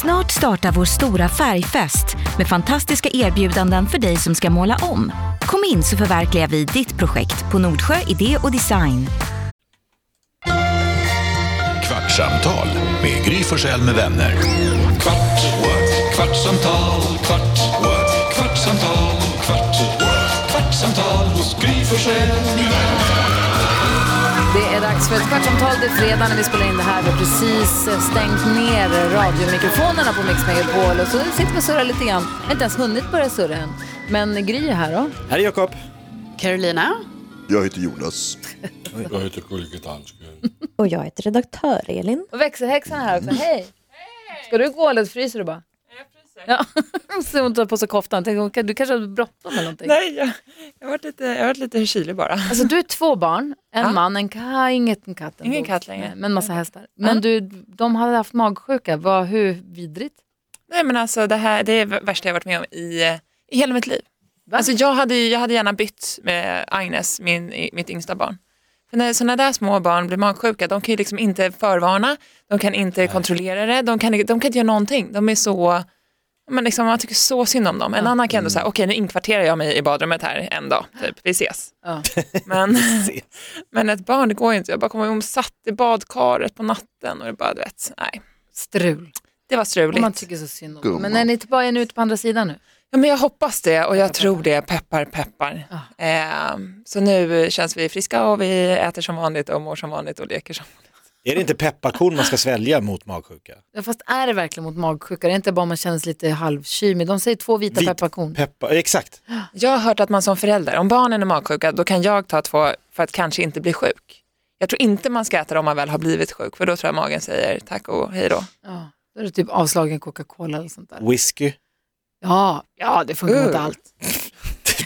Snart startar vår stora färgfest med fantastiska erbjudanden för dig som ska måla om. Kom in så förverkligar vi ditt projekt på Nordsjö Idé och Design. Kvartsamtal med Gry Forssell med vänner. Kvart, what? kvartsamtal, kvart, what? kvartsamtal, kvart, what? kvartsamtal hos Gry Forssell med vänner. Det är dags för ett kvartsamtal. Det är fredag när vi spelar in det här. Vi har precis eh, stängt ner radiomikrofonerna på Mix Megapol och så sitter vi och surrar lite grann. Jag har inte ens hunnit börja surra än. Men Gry är här då. Här är Jakob. Carolina. Jag heter Jonas. Jag heter Gullige Dansken. Och jag heter redaktör Elin. Och växelhäxan är här också. Hej! Ska du gå eller fryser du bara? Ja, så hon tar på sig koftan. Tänk, hon kan- Du kanske har bråttom eller någonting? Nej, jag, jag har varit lite, jag har varit lite kylig bara. Alltså du är två barn, en man, en ka, inget en katt. ändå. Ingen katt längre. Nej, Men massa hästar. Men du, de hade haft magsjuka. Vad, hur vidrigt? Nej men alltså det här det är det värsta jag varit med om i, eh, i hela mitt liv. Alltså jag hade, ju- jag hade gärna bytt med Agnes, min, i- mitt yngsta barn. För när sådana där små barn blir magsjuka, de kan ju liksom inte förvarna, de kan inte kontrollera det, de kan, de kan inte göra någonting. De är så, men liksom, man tycker så synd om dem. En annan kan ändå Mm. säga, okej nu inkvarterar jag mig i badrummet här en dag, typ. vi ses. Ja. Men, men ett barn, det går ju inte. Jag bara kommer ihåg, hon satt i badkaret på natten och det bara, du vet, nej. Strul. Det var Om struligt. man tycker så synd om dem. Men Gumman. är ni tillbaka, är ni ute på andra sidan nu? Ja, men jag hoppas det och jag tror det, peppar peppar. Ja. Eh, så nu känns vi friska och vi äter som vanligt och mår som vanligt och leker som vanligt. Är det inte pepparkorn man ska svälja mot magsjuka? Ja, fast är det verkligen mot magsjuka? Det är inte bara om man känner sig lite halvkymig. De säger två vita Vit- pepparkorn. Peppa, exakt. Jag har hört att man som förälder, om barnen är magsjuka, då kan jag ta två för att kanske inte bli sjuk. Jag tror inte man ska äta det om man väl har blivit sjuk, för då tror jag magen säger tack och hej då. Ja. Då är det typ avslagen Coca-Cola eller sånt där. Whisky. Ja, ja det funkar mot Uh. allt.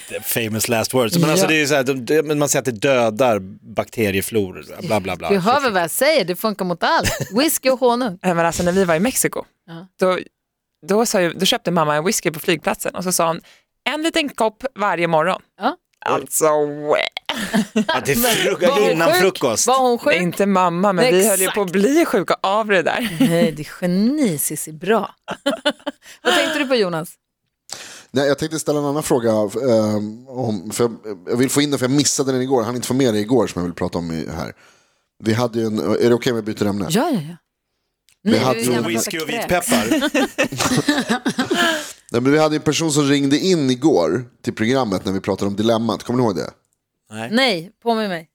The famous last words. Men Ja. alltså det är ju så här, de, de, men man säger att det dödar bakteriefloror, bla bla bla. Du hör väl vad jag säger, det funkar mot allt. Whisky och honung. Nej, Men alltså när vi var i Mexiko, Ja. då, då, sa ju, då köpte mamma en whisky på flygplatsen och så sa hon en liten kopp varje morgon. Ja. Alltså, wä- ja, det Var hon frukar innan sjuk? frukost. Var hon sjuk? inte mamma, men Nej, vi höll ju på att bli sjuka av det där. Nej, det är geni Cissi, bra. vad tänkte du på Jonas? Nej, jag tänkte ställa en annan fråga. eh, om, för jag, jag vill få in den, för jag missade den igår. Han inte få med det igår som jag vill prata om i- här. Vi hade ju en, är det okej om jag byter ämne? Ja, ja, ja. vi, hade, vi- ju- vi- Whisky och kräks. vitpeppar. nej, men vi hade en person som ringde in igår till programmet när vi pratade om dilemmat. Kommer ni ihåg det? Nej, på med mig.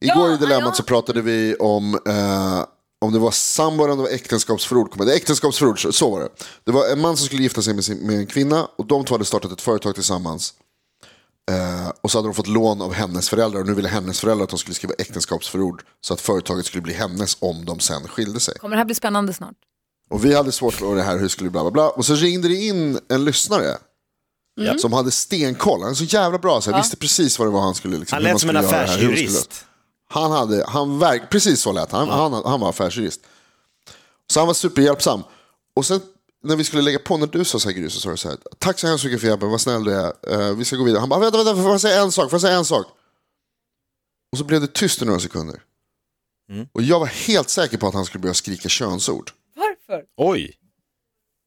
Igår Ja, i Dilemmat ja. så pratade vi om eh, om det var sambo eller om det var äktenskapsförord. Kommer jag- Det är äktenskapsförord, så- så var det. Det var en man som skulle gifta sig med, sin, med en kvinna och de två hade startat ett företag tillsammans. Eh, och så hade de fått lån av hennes föräldrar och nu ville hennes föräldrar att de skulle skriva äktenskapsförord så att företaget skulle bli hennes om de sen skilde sig. Kommer det här bli spännande snart? Och vi hade svårt att det här, hur skulle det bla bla bla. Och så ringde det in en lyssnare. Som hade stenkoll, han är så jävla bra, så jag visste precis vad det var han skulle liksom, Han hur man lät som en skulle göra det här, hur man skulle- affärsjurist. han hade, han verk, precis så lät han. han. Han var affärsjurist. Så han var superhjälpsam. Och sen när vi skulle lägga på, när du sa så här Gry, så sa du så här. Tack så hemskt mycket för hjälpen, vad snäll du är. Eh, vi ska gå vidare. Han bara, vänta, vänta, får jag säga en sak? Får jag säga en sak? Och så blev det tyst i några sekunder. Mm. Och jag var helt säker på att han skulle börja skrika könsord. Varför? Oj,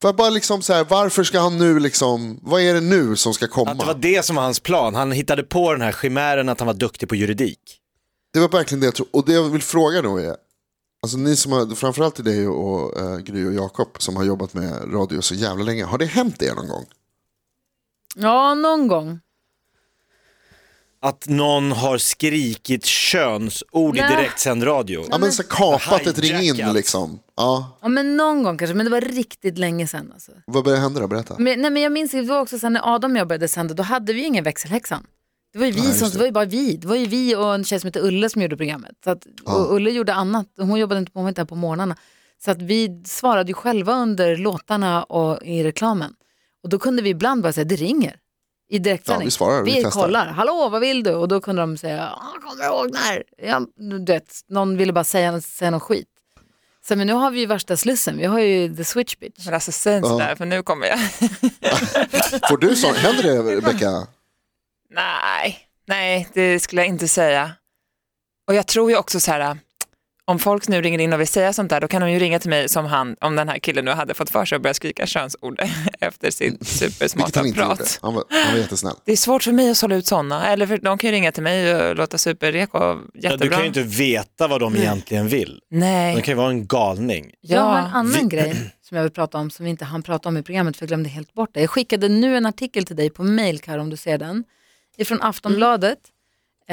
För jag bara liksom så här, varför ska han nu liksom, vad är det nu som ska komma? att det var det som var hans plan. Han hittade på den här chimären att han var duktig på juridik. Det var verkligen det jag tror. Och det jag vill fråga då är, alltså ni som har, framförallt till dig och eh, Gry och Jakob som har jobbat med radio så jävla länge, har det hänt er någon gång? Ja, någon gång. Att någon har skrikit könsord i Nej. direktsänd radio. Ja men så kapat ett ring in Hijackat. liksom. Ja, Ja, men någon gång kanske, men det var riktigt länge sedan. Alltså. vad började hända då? Berätta. Men, nej, men jag minns ju, det var också sen när Adam och jag började sända, då hade vi ju ingen växelhäxan. Det var ju vi Nej, just som, det. det var ju bara vi. Det var ju vi och en tjej som hette Ulle som gjorde programmet. Så att, Ja. och Ulle gjorde annat, hon jobbade inte på, hon var inte här på morgnarna. Så att vi svarade ju själva under låtarna och i reklamen. Och då kunde vi ibland bara säga, det ringer. I direktsändning. Ja, vi svarar, vi Vi, testar. kollar, hallå vad vill du? Och då kunde de säga, "Ah, kommer du ihåg när? Ja, du vet, någon ville bara säga, säga någon skit. Så men nu har vi ju värsta slussen, vi har ju the switch bitch. Men alltså säg inte sådär, för nu kommer jag. Får du så? Händer det Rebecka? Nej, nej, det skulle jag inte säga. Och jag tror ju också så här, äh, om folk nu ringer in och vill säga sånt där, då kan de ju ringa till mig som han, om den här killen nu hade fått för sig att börja skrika könsord efter sitt Mm. Vilket supersmarta han inte gjorde. prat. Han var, han var jättesnäll. Det är svårt för mig att sålla ut sådana, eller för, de kan ju ringa till mig och låta superreko, Ja, jättebra. du kan ju inte veta vad de egentligen vill. Nej. De kan ju vara en galning. Jag har en Ja. annan grej som jag vill prata om som vi inte hann prata om i programmet för jag glömde helt bort det. Jag skickade nu en artikel till dig på mail Karo om du ser den. Ifrån Aftonbladet.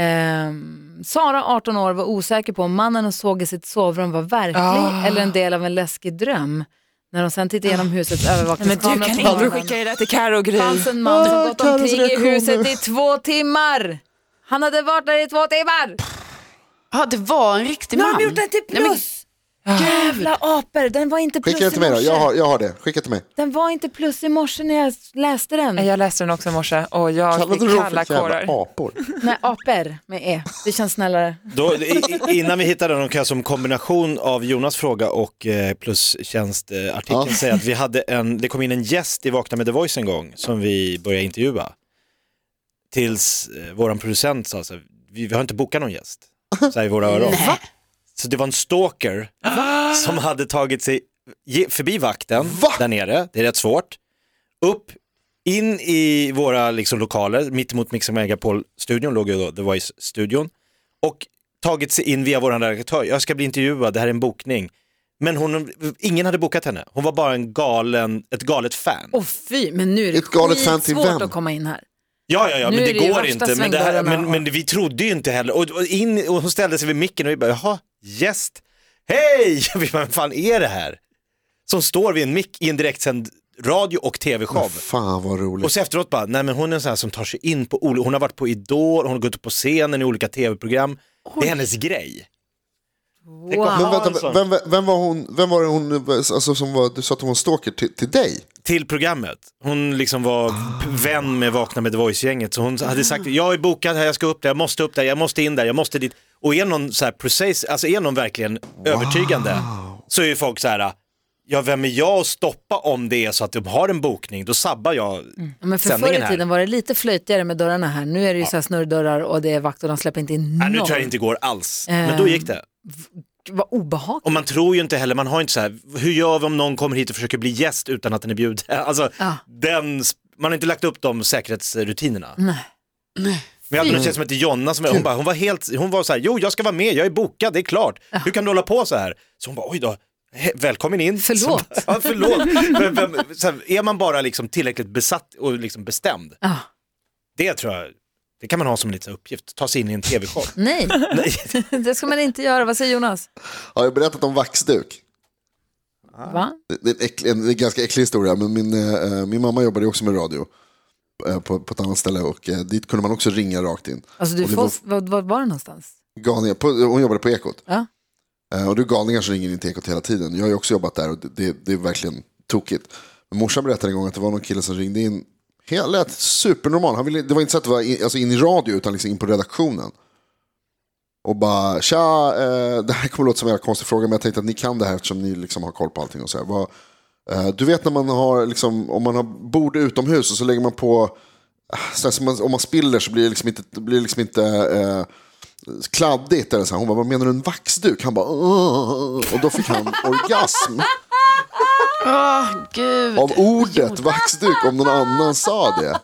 Ehm, Sara, 18 år, var osäker på om mannen hon såg i sitt sovrum var verklig Ah. eller en del av en läskig dröm. När de sen tittade igenom husets Men övervakningskamera du kan på inte morgonen skicka det där till Carro Gry. fanns en man som gått Karos omkring i reaktioner. huset i två timmar. Han hade varit där i två timmar. Ja, det var en riktig Nu man. har de gjort den till Nej, men- plus. Jävla apor, den var inte plus Skicka det till mig då. i Jag morse. har, jag har det. Skicka till mig. Den var inte plus i morse när jag läste den. Jag läste den också i morse och jag Kallade fick du dem för kalla jävla kårar. apor? Nej, apor med e. Det känns snällare. Då, i- i- innan vi hittar den då kan jag som kombination av Jonas fråga och eh, plustjänstartikeln eh, artikeln Ja. säga att vi hade en, det kom in en gäst i Vakna med The Voice en gång som vi började intervjua. Tills eh, våran producent sa så här, vi, vi har inte bokat någon gäst. Så här i våra öron. Nej. Så det var en stalker som hade tagit sig ge- förbi vakten där nere, det är rätt svårt, upp, in i våra liksom, lokaler, mittemot Mix Megapol-studion låg ju då The Voice-studion, och tagit sig in via vår redaktör, jag ska bli intervjuad, det här är en bokning. Men hon, ingen hade bokat henne, hon var bara en galen, ett galet fan. Åh fy, men nu är det Ett galet fan till skitsvårt vem? att komma in här. Ja, ja, ja, Nu men är det, det ju går värsta inte. Men, det här, svängdörrarna. men, men vi trodde ju inte heller. Och, och, in, och hon ställde sig vid micken och vi bara, jaha, gäst, hej! Vi bara, vad fan är det här? Som står vid en mick i en direktsänd radio och Vad tv-show. Fan vad Och roligt. så efteråt bara, nej men hon är en sån här som tar sig in på olika, hon har varit på Idol, hon har gått upp på scenen i olika tv-program. Det är hennes grej. Tänk Wow. om hon Men har en vänta, alltså. sån vem, vem var hon, vem var det hon alltså, som var, du sa att hon var stalker till, till dig? Till programmet. Hon liksom var p- vän med Vakna med The Voice-gänget. Så hon hade sagt, jag är bokad här, jag ska upp där, jag måste upp där, jag måste in där, jag måste dit. Och är någon så här precis, alltså är någon verkligen övertygande så är ju folk så här, ja vem är jag att stoppa om det är så att de har en bokning, då sabbar jag. Mm. Ja, men för förr Sändningen i här. tiden var det lite flöjtigare med dörrarna här. Nu är det ju så här snurrdörrar och det är vakt och de släpper inte in Nej, någon. nu tror jag det inte går alls. Eh. Men då gick det. Vad obehagligt. Och man tror ju inte heller, man har inte så här, hur gör vi om någon kommer hit och försöker bli gäst utan att den är bjuden? Alltså, Ja. den, man har inte lagt upp de säkerhetsrutinerna. Men jag hade en tjej som hette Jonna, som, hon, bara, hon var helt, hon var så här, jo jag ska vara med, jag är bokad, det är klart. Hur kan du hålla på så här? Så hon bara, oj då, he- välkommen in. Förlåt. Så, ja, förlåt. Men, vem, så här, är man bara liksom tillräckligt besatt och liksom bestämd, Ja. det tror jag, det kan man ha som en liten uppgift, ta sig in i en tv-show. Nej, Nej. det ska man inte göra. Vad säger Jonas? Har jag berättat om vaxduk? Ah. Va? Det är en, äcklig, en ganska äcklig historia, men min, eh, min mamma jobbade ju också med radio eh, på, på ett annat ställe och eh, dit kunde man också ringa rakt in. Alltså, Och du det får, var- vad, vad var det någonstans? Galningar, på, hon jobbade på Ekot. Ja. Eh, Och det är galningar som ringer in till Ekot hela tiden. Jag har ju också jobbat där och det- det, det är verkligen tokigt. Men morsan berättade en gång att det var någon kille som ringde in. Helt lät supernormal. Han ville, det var inte så att det var in, alltså in i radio utan liksom in på redaktionen. Och bara, tja, eh, det här kommer låta som en jävla konstig fråga men jag tänkte att ni kan det här eftersom ni liksom har koll på allting. Och så här. Vad, eh, du vet när man har, liksom, om man har bord utomhus och så lägger man på, eh, så här, som man, om man spiller så blir det liksom inte, det blir liksom inte eh, kladdigt. Eller så här. Hon bara, vad menar du en vaxduk? Han bara, "Åh." och då fick han orgasm Åh, gud. av ordet vaxduk om någon annan sa det.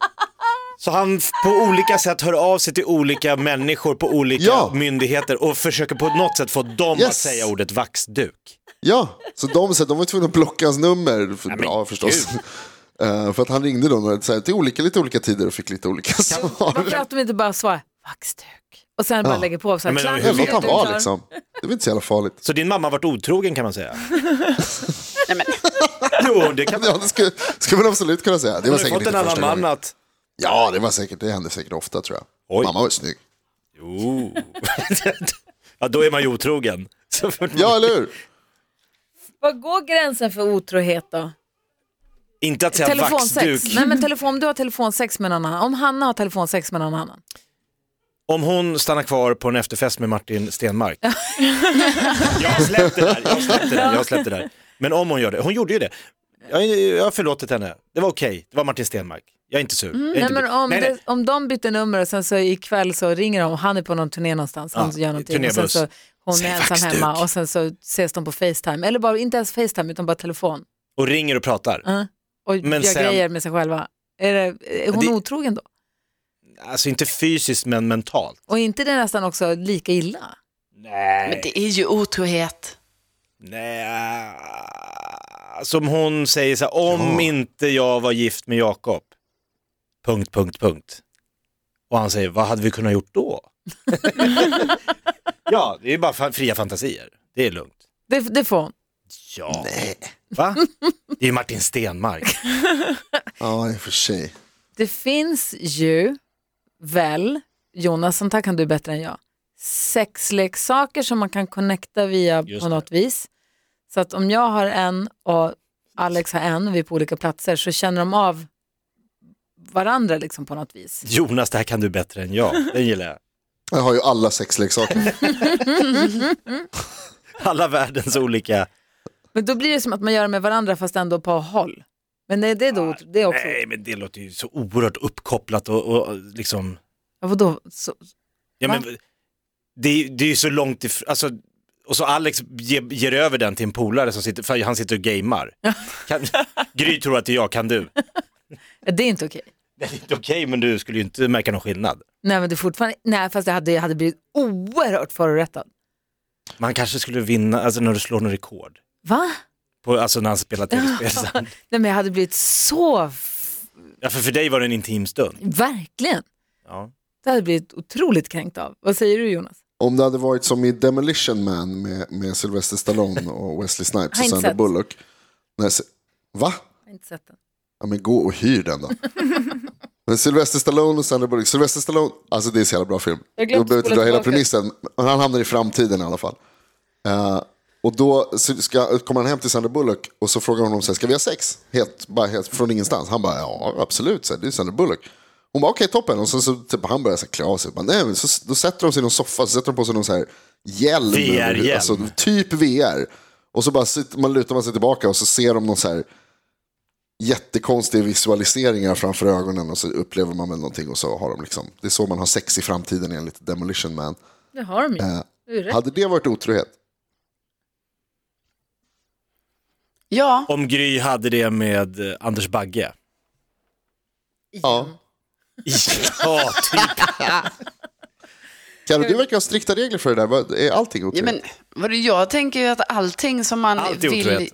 Så han f- på olika sätt hör av sig till olika människor på olika Ah! Ja. myndigheter och försöker på något sätt få dem att Yes. säga ordet vaxduk. Ja, så de, så de var tvungna att blocka hans nummer. För, ja, förstås. Eh, för att han ringde då några, så här, till olika, lite olika tider och fick lite olika svar. Varför att de inte bara svarar vaxduk och sen bara lägger på så här, Ja, klang, men hur Jag vet vet vet att han du, var klar. liksom. Det var inte så jävla farligt. Så din mamma har varit otrogen kan man säga. Nej, men, Jo, det kan man. Ja, det skulle, skulle man absolut kunna säga. Det var Hon har säkert fått en inte annan första man gången. att... Ja, det var säkert. Det hände säkert ofta tror jag. Oj. Mamma var ju snygg. Jo. Oh. ja, då är man ju otrogen. Så för... Ja, eller hur? Var går gränsen för otrohet då? Inte att säga Telefonsex. vaxduk. Nej, men telefon, om du har telefonsex med någon annan, om Hanna har telefonsex med någon annan. Om hon stannar kvar på en efterfest med Martin Stenmark. jag har släppt det där, jag har släppt det där, jag har släppt det där. Men om hon gör det, hon gjorde ju det. Jag, jag har förlåtit henne, det var okej, det var Martin Stenmark. Jag är inte sur. jag är Mm, Nej, inte men bitter. om, nej, nej. Det, om de byter nummer och sen så ikväll så ringer de, han är på någon turné någonstans, han Ja, gör någonting. Och sen turnébuss. så Hon Säg är ensam vaxduk. hemma och sen så ses de på Facetime. Eller bara, inte ens Facetime utan bara telefon. Och ringer och pratar. Ja. Och Men gör sen- grejer med sig själva. Är, det, är hon Det- otrogen då? Alltså inte fysiskt men mentalt. Och är inte det nästan också lika illa? Men det är ju otrohet. Nej. Som hon säger så här, om inte jag var gift med Jakob. Punkt, punkt, punkt. Och han säger, vad hade vi kunnat gjort då? ja, det är bara fa- fria fantasier. Det är lugnt. Det, det får hon. Ja. Va? Det är ju Martin Stenmark. Ja, i och för sig. Det finns ju väl, Jonas, sånt här kan du bättre än jag, sexleksaker som man kan connecta via Just på det. något vis. Så att om jag har en och Alex har en och vi är på olika platser så känner de av varandra liksom på något vis. Jonas, det här kan du bättre än jag. Den gillar jag. Jag har ju alla sexleksaker. Alla världens olika... Men då blir det som att man gör det med varandra fast ändå på håll. Men det, det, är, då, det är också... Ah, Nej, men det låter ju så oerhört uppkopplat och, och liksom... Ja, vadå? Så, Ja, Va? men, det, är- det är ju så långt ifrån, alltså, och så Alex ge, ger över den till en polare som sitter, för han sitter och gamear. Kan, Gry tror att det är jag, kan du? det är inte okej. Det är inte okej, men du skulle ju inte märka någon skillnad. Nej, men det är fortfarande... Nej, fast jag hade, jag hade blivit oerhört förorättad. Man kanske skulle vinna, alltså när du slår något rekord, Va? på, alltså när han spelar tv-spel. Nej, men jag hade blivit så... f- ja, för, för dig var det en intim stund. Verkligen. Ja. Det hade jag blivit otroligt kränkt av. Vad säger du Jonas? Om det hade varit som i Demolition Man med, med Sylvester Stallone och Wesley Snipes Har och inte Sandra sett. Bullock. När, se- va? Jag har inte sett den. Ja, men gå och hyr den då. Men Sylvester Stallone och Sandra Bullock. Sylvester Stallone, alltså det är så jävla bra film. Jag Jag glömde behöver inte spola dra hela tillbaka. premissen, men han hamnar i framtiden i alla fall. Eh, och då så ska, kommer han hem till Sandra Bullock och så frågar hon honom, så här, ska vi ha sex? Helt, bara helt från ingenstans. Han bara, ja absolut, så här, det är Sandra Bullock. Hon bara, okej toppen. Och sen så typ, han börjar så här, klä av sig. Bara, Nej, men så, då sätter de sig i någon soffa, så sätter de på sig någon så här hjälm. VR-hjälm. Alltså, typ VR. Och så bara sitter, man lutar man sig tillbaka och så ser de någon så här jättekonstiga visualiseringar framför ögonen och så upplever man väl någonting och så har de liksom, det är så man har sex i framtiden enligt Demolition Man. Det har de ju. Eh, Du är rätt. hade det varit otrohet? Ja, Om Gry hade det med eh, Anders Bagge. Ja. Ja, typ. Kalle, du verkar ha strikta regler för det där, Vad- är allting ja otrohet? men vad det, jag tänker ju att allting som man Allt är vill... otrohet.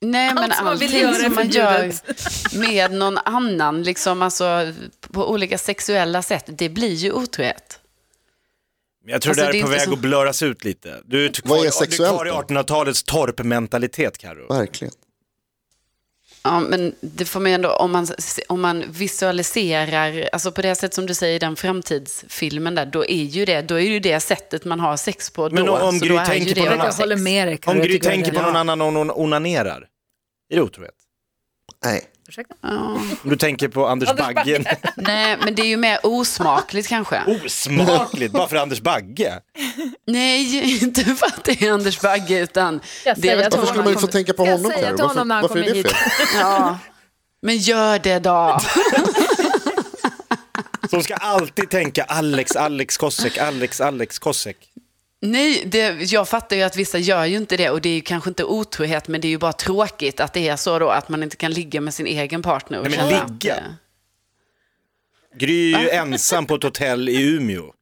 Nej, men som man vill allting göra är som man gör förbjudet. med någon annan, liksom alltså på olika sexuella sätt, det blir ju otrohet. Men Jag tror Alltså, det det där är är på inte väg så- att blöras ut lite. Du är Vad är kvar, du är sexuellt kvar i då? 1800-talets torpmentalitet, Carro. Verkligen. Ja, men det får man ju ändå, om man, om man visualiserar, alltså på det sätt som du säger i den framtidsfilmen där, då är ju det, då är ju det sättet man har sex på då. Men om- om så Gry då är tänker ju på det någon att ha jag annan- sex. håller med dig. Karo. Om Jag Gry tycker tänker det på är- någon annan och hon onanerar, är det otrohet? Nej. Ja. Om du tänker på Anders, Bagge. Nej, men det är ju mer osmakligt kanske. Osmakligt, bara för Anders Bagge. Nej, inte för att det är Anders Bagge, utan Jag det är säger väl att- Varför två- skulle man inte få tänka på Jag honom, säger Kalle? till honom Varför, när han varför är kommer det hit. fel? ja. Men gör det då. Som ska alltid tänka Alex, Alex Kosek, Alex, Alex Kosek. Nej, det, jag fattar ju att vissa gör ju inte det och det är ju kanske inte otrohet men det är ju bara tråkigt att det är så då att man inte kan ligga med sin egen partner. och Nej, men känna att, ligga. eh, Gry är ju ensam på ett hotell i Umeå.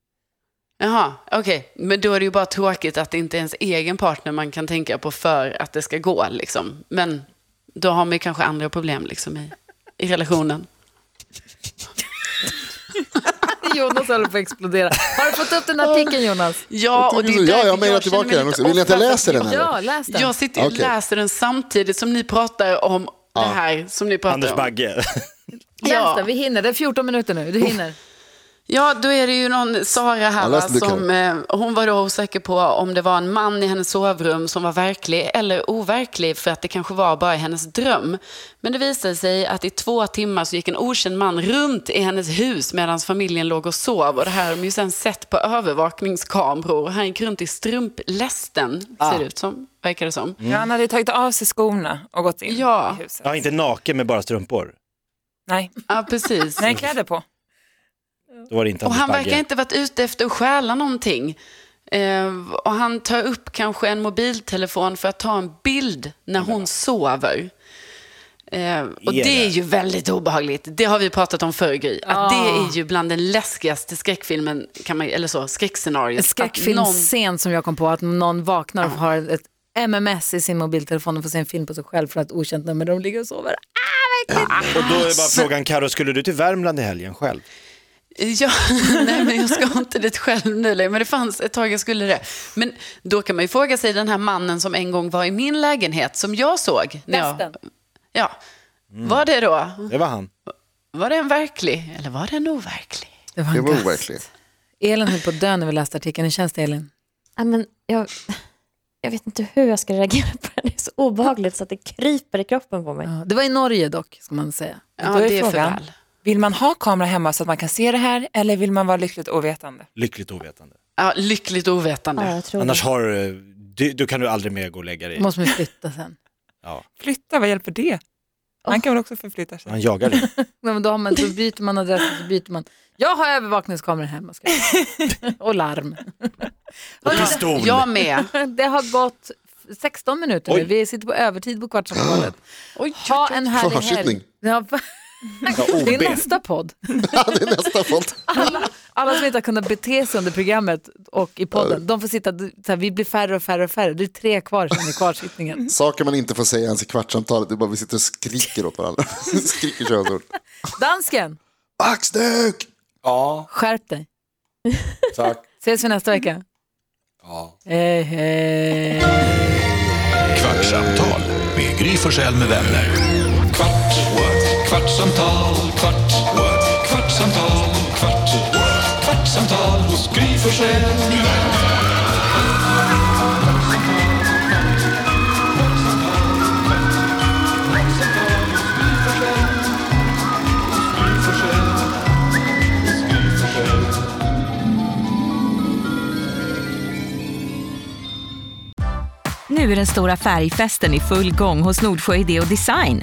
Jaha, okej. Men då är det ju bara tråkigt att det inte är ens egen partner man kan tänka på för att det ska gå liksom. Men då har man ju kanske andra problem liksom i, i relationen. Jonas håller på att explodera. Har du fått upp den här artikeln Jonas? Ja, och det är Ja, jag därför mailar känner tillbaka mig den lite också. Vill ni att jag offer för läser den, jag- eller? Ja, läs den. Jag sitter och Okej. läser den samtidigt som ni pratar om det här som ni pratar Anders om. Bagge. Läs Ja. den, vi hinner. Det är 14 minuter nu, du hinner. Ja, då är det ju någon Sara här Ja, va, läs det, som eh, hon var då osäker på om det var en man i hennes sovrum som var verklig eller overklig för att det kanske var bara hennes dröm. Men det visade sig att i två timmar så gick en okänd man runt i hennes hus medan familjen låg och sov och det här har de ju sen sett på övervakningskameror. Han gick runt i strumplästen, ser det ut som, verkar det som. Ja, han hade ju tagit av sig skorna och gått in Ja. i huset. Ja, inte naken med bara strumpor. Nej, Ja, precis. nej kläder på. Då var det inte Och Anders han Bagge. verkar inte varit ute efter att stjäla någonting. Eh, och han tar upp kanske en mobiltelefon för att ta en bild när hon sover. Eh, och Är det är det? ju väldigt obehagligt. Det har vi pratat om förr, Gry. Att det är ju bland den läskigaste skräckfilmen, kan man, eller så, skräckscenariot. En Att skräckfilmsscen som jag kom på, att någon vaknar och har ett MMS i sin mobiltelefon och får se en film på sig själv för att okänt nummer de ligger och sover. Och då är bara frågan, Karo, skulle du till Värmland i helgen själv? Ja, nej men jag ska inte dit själv nu längre, men det fanns ett tag jag skulle det. Men då kan man ju fråga sig den här mannen som en gång var i min lägenhet, som jag såg. När jag, Nästan. ja, var det då, Det var han. var det en verklig eller var det en overklig? Det var, Det en var gast. overkligt. Elin höll på att dö när vi läste artikeln. Hur känns det Elin? Ja, men jag, jag vet inte hur jag ska reagera på det. Det är så obehagligt så att det kryper i kroppen på mig. Ja, det var i Norge dock, ska man säga. Ja, Då är det är för frågan. väl. Vill man ha kamera hemma så att man kan se det här eller vill man vara lyckligt ovetande? Lyckligt ovetande. Ja, lyckligt ovetande. Ja, jag tror Annars det. har, eh, du, du kan du aldrig mer gå och lägga dig. Måste man flytta sen. Flytta, vad hjälper det? Man kan väl också förflytta sig? Han jagar dig. Nej, men då, har man, då byter man adress och så byter man. Jag har övervakningskamera hemma ska jag. säga. och larm. Och pistol. Jag med. Det har gått 16 minuter nu. Oj. Vi sitter på övertid på Kvartsamtalet. Oj, Ha en härlig helg. Försittning. Ja, va- det är nästa podd. Ja, det är nästa fond. Alla, alla som inte har kunnat bete sig under programmet och i podden, de får sitta, så här, vi blir färre och färre och färre. Det är tre kvar sen i kvarsittningen. Saker man inte får säga ens i kvartssamtalet. Det är bara vi sitter och skriker åt varandra. skriker könsord. Dansken, Axduk! Ja, skärp dig. tack. Ses vi nästa vecka. Ja. Hej, hej. Kvartsamtal med Gry Forssell med vänner. Kvart, what? kvartsamtal, kvart, what? kvartsamtal, kvart, what? kvartsamtal hos Gry Forssell med vänner. Nu är den stora färgfesten i full gång hos Nordsjö Idé och Design.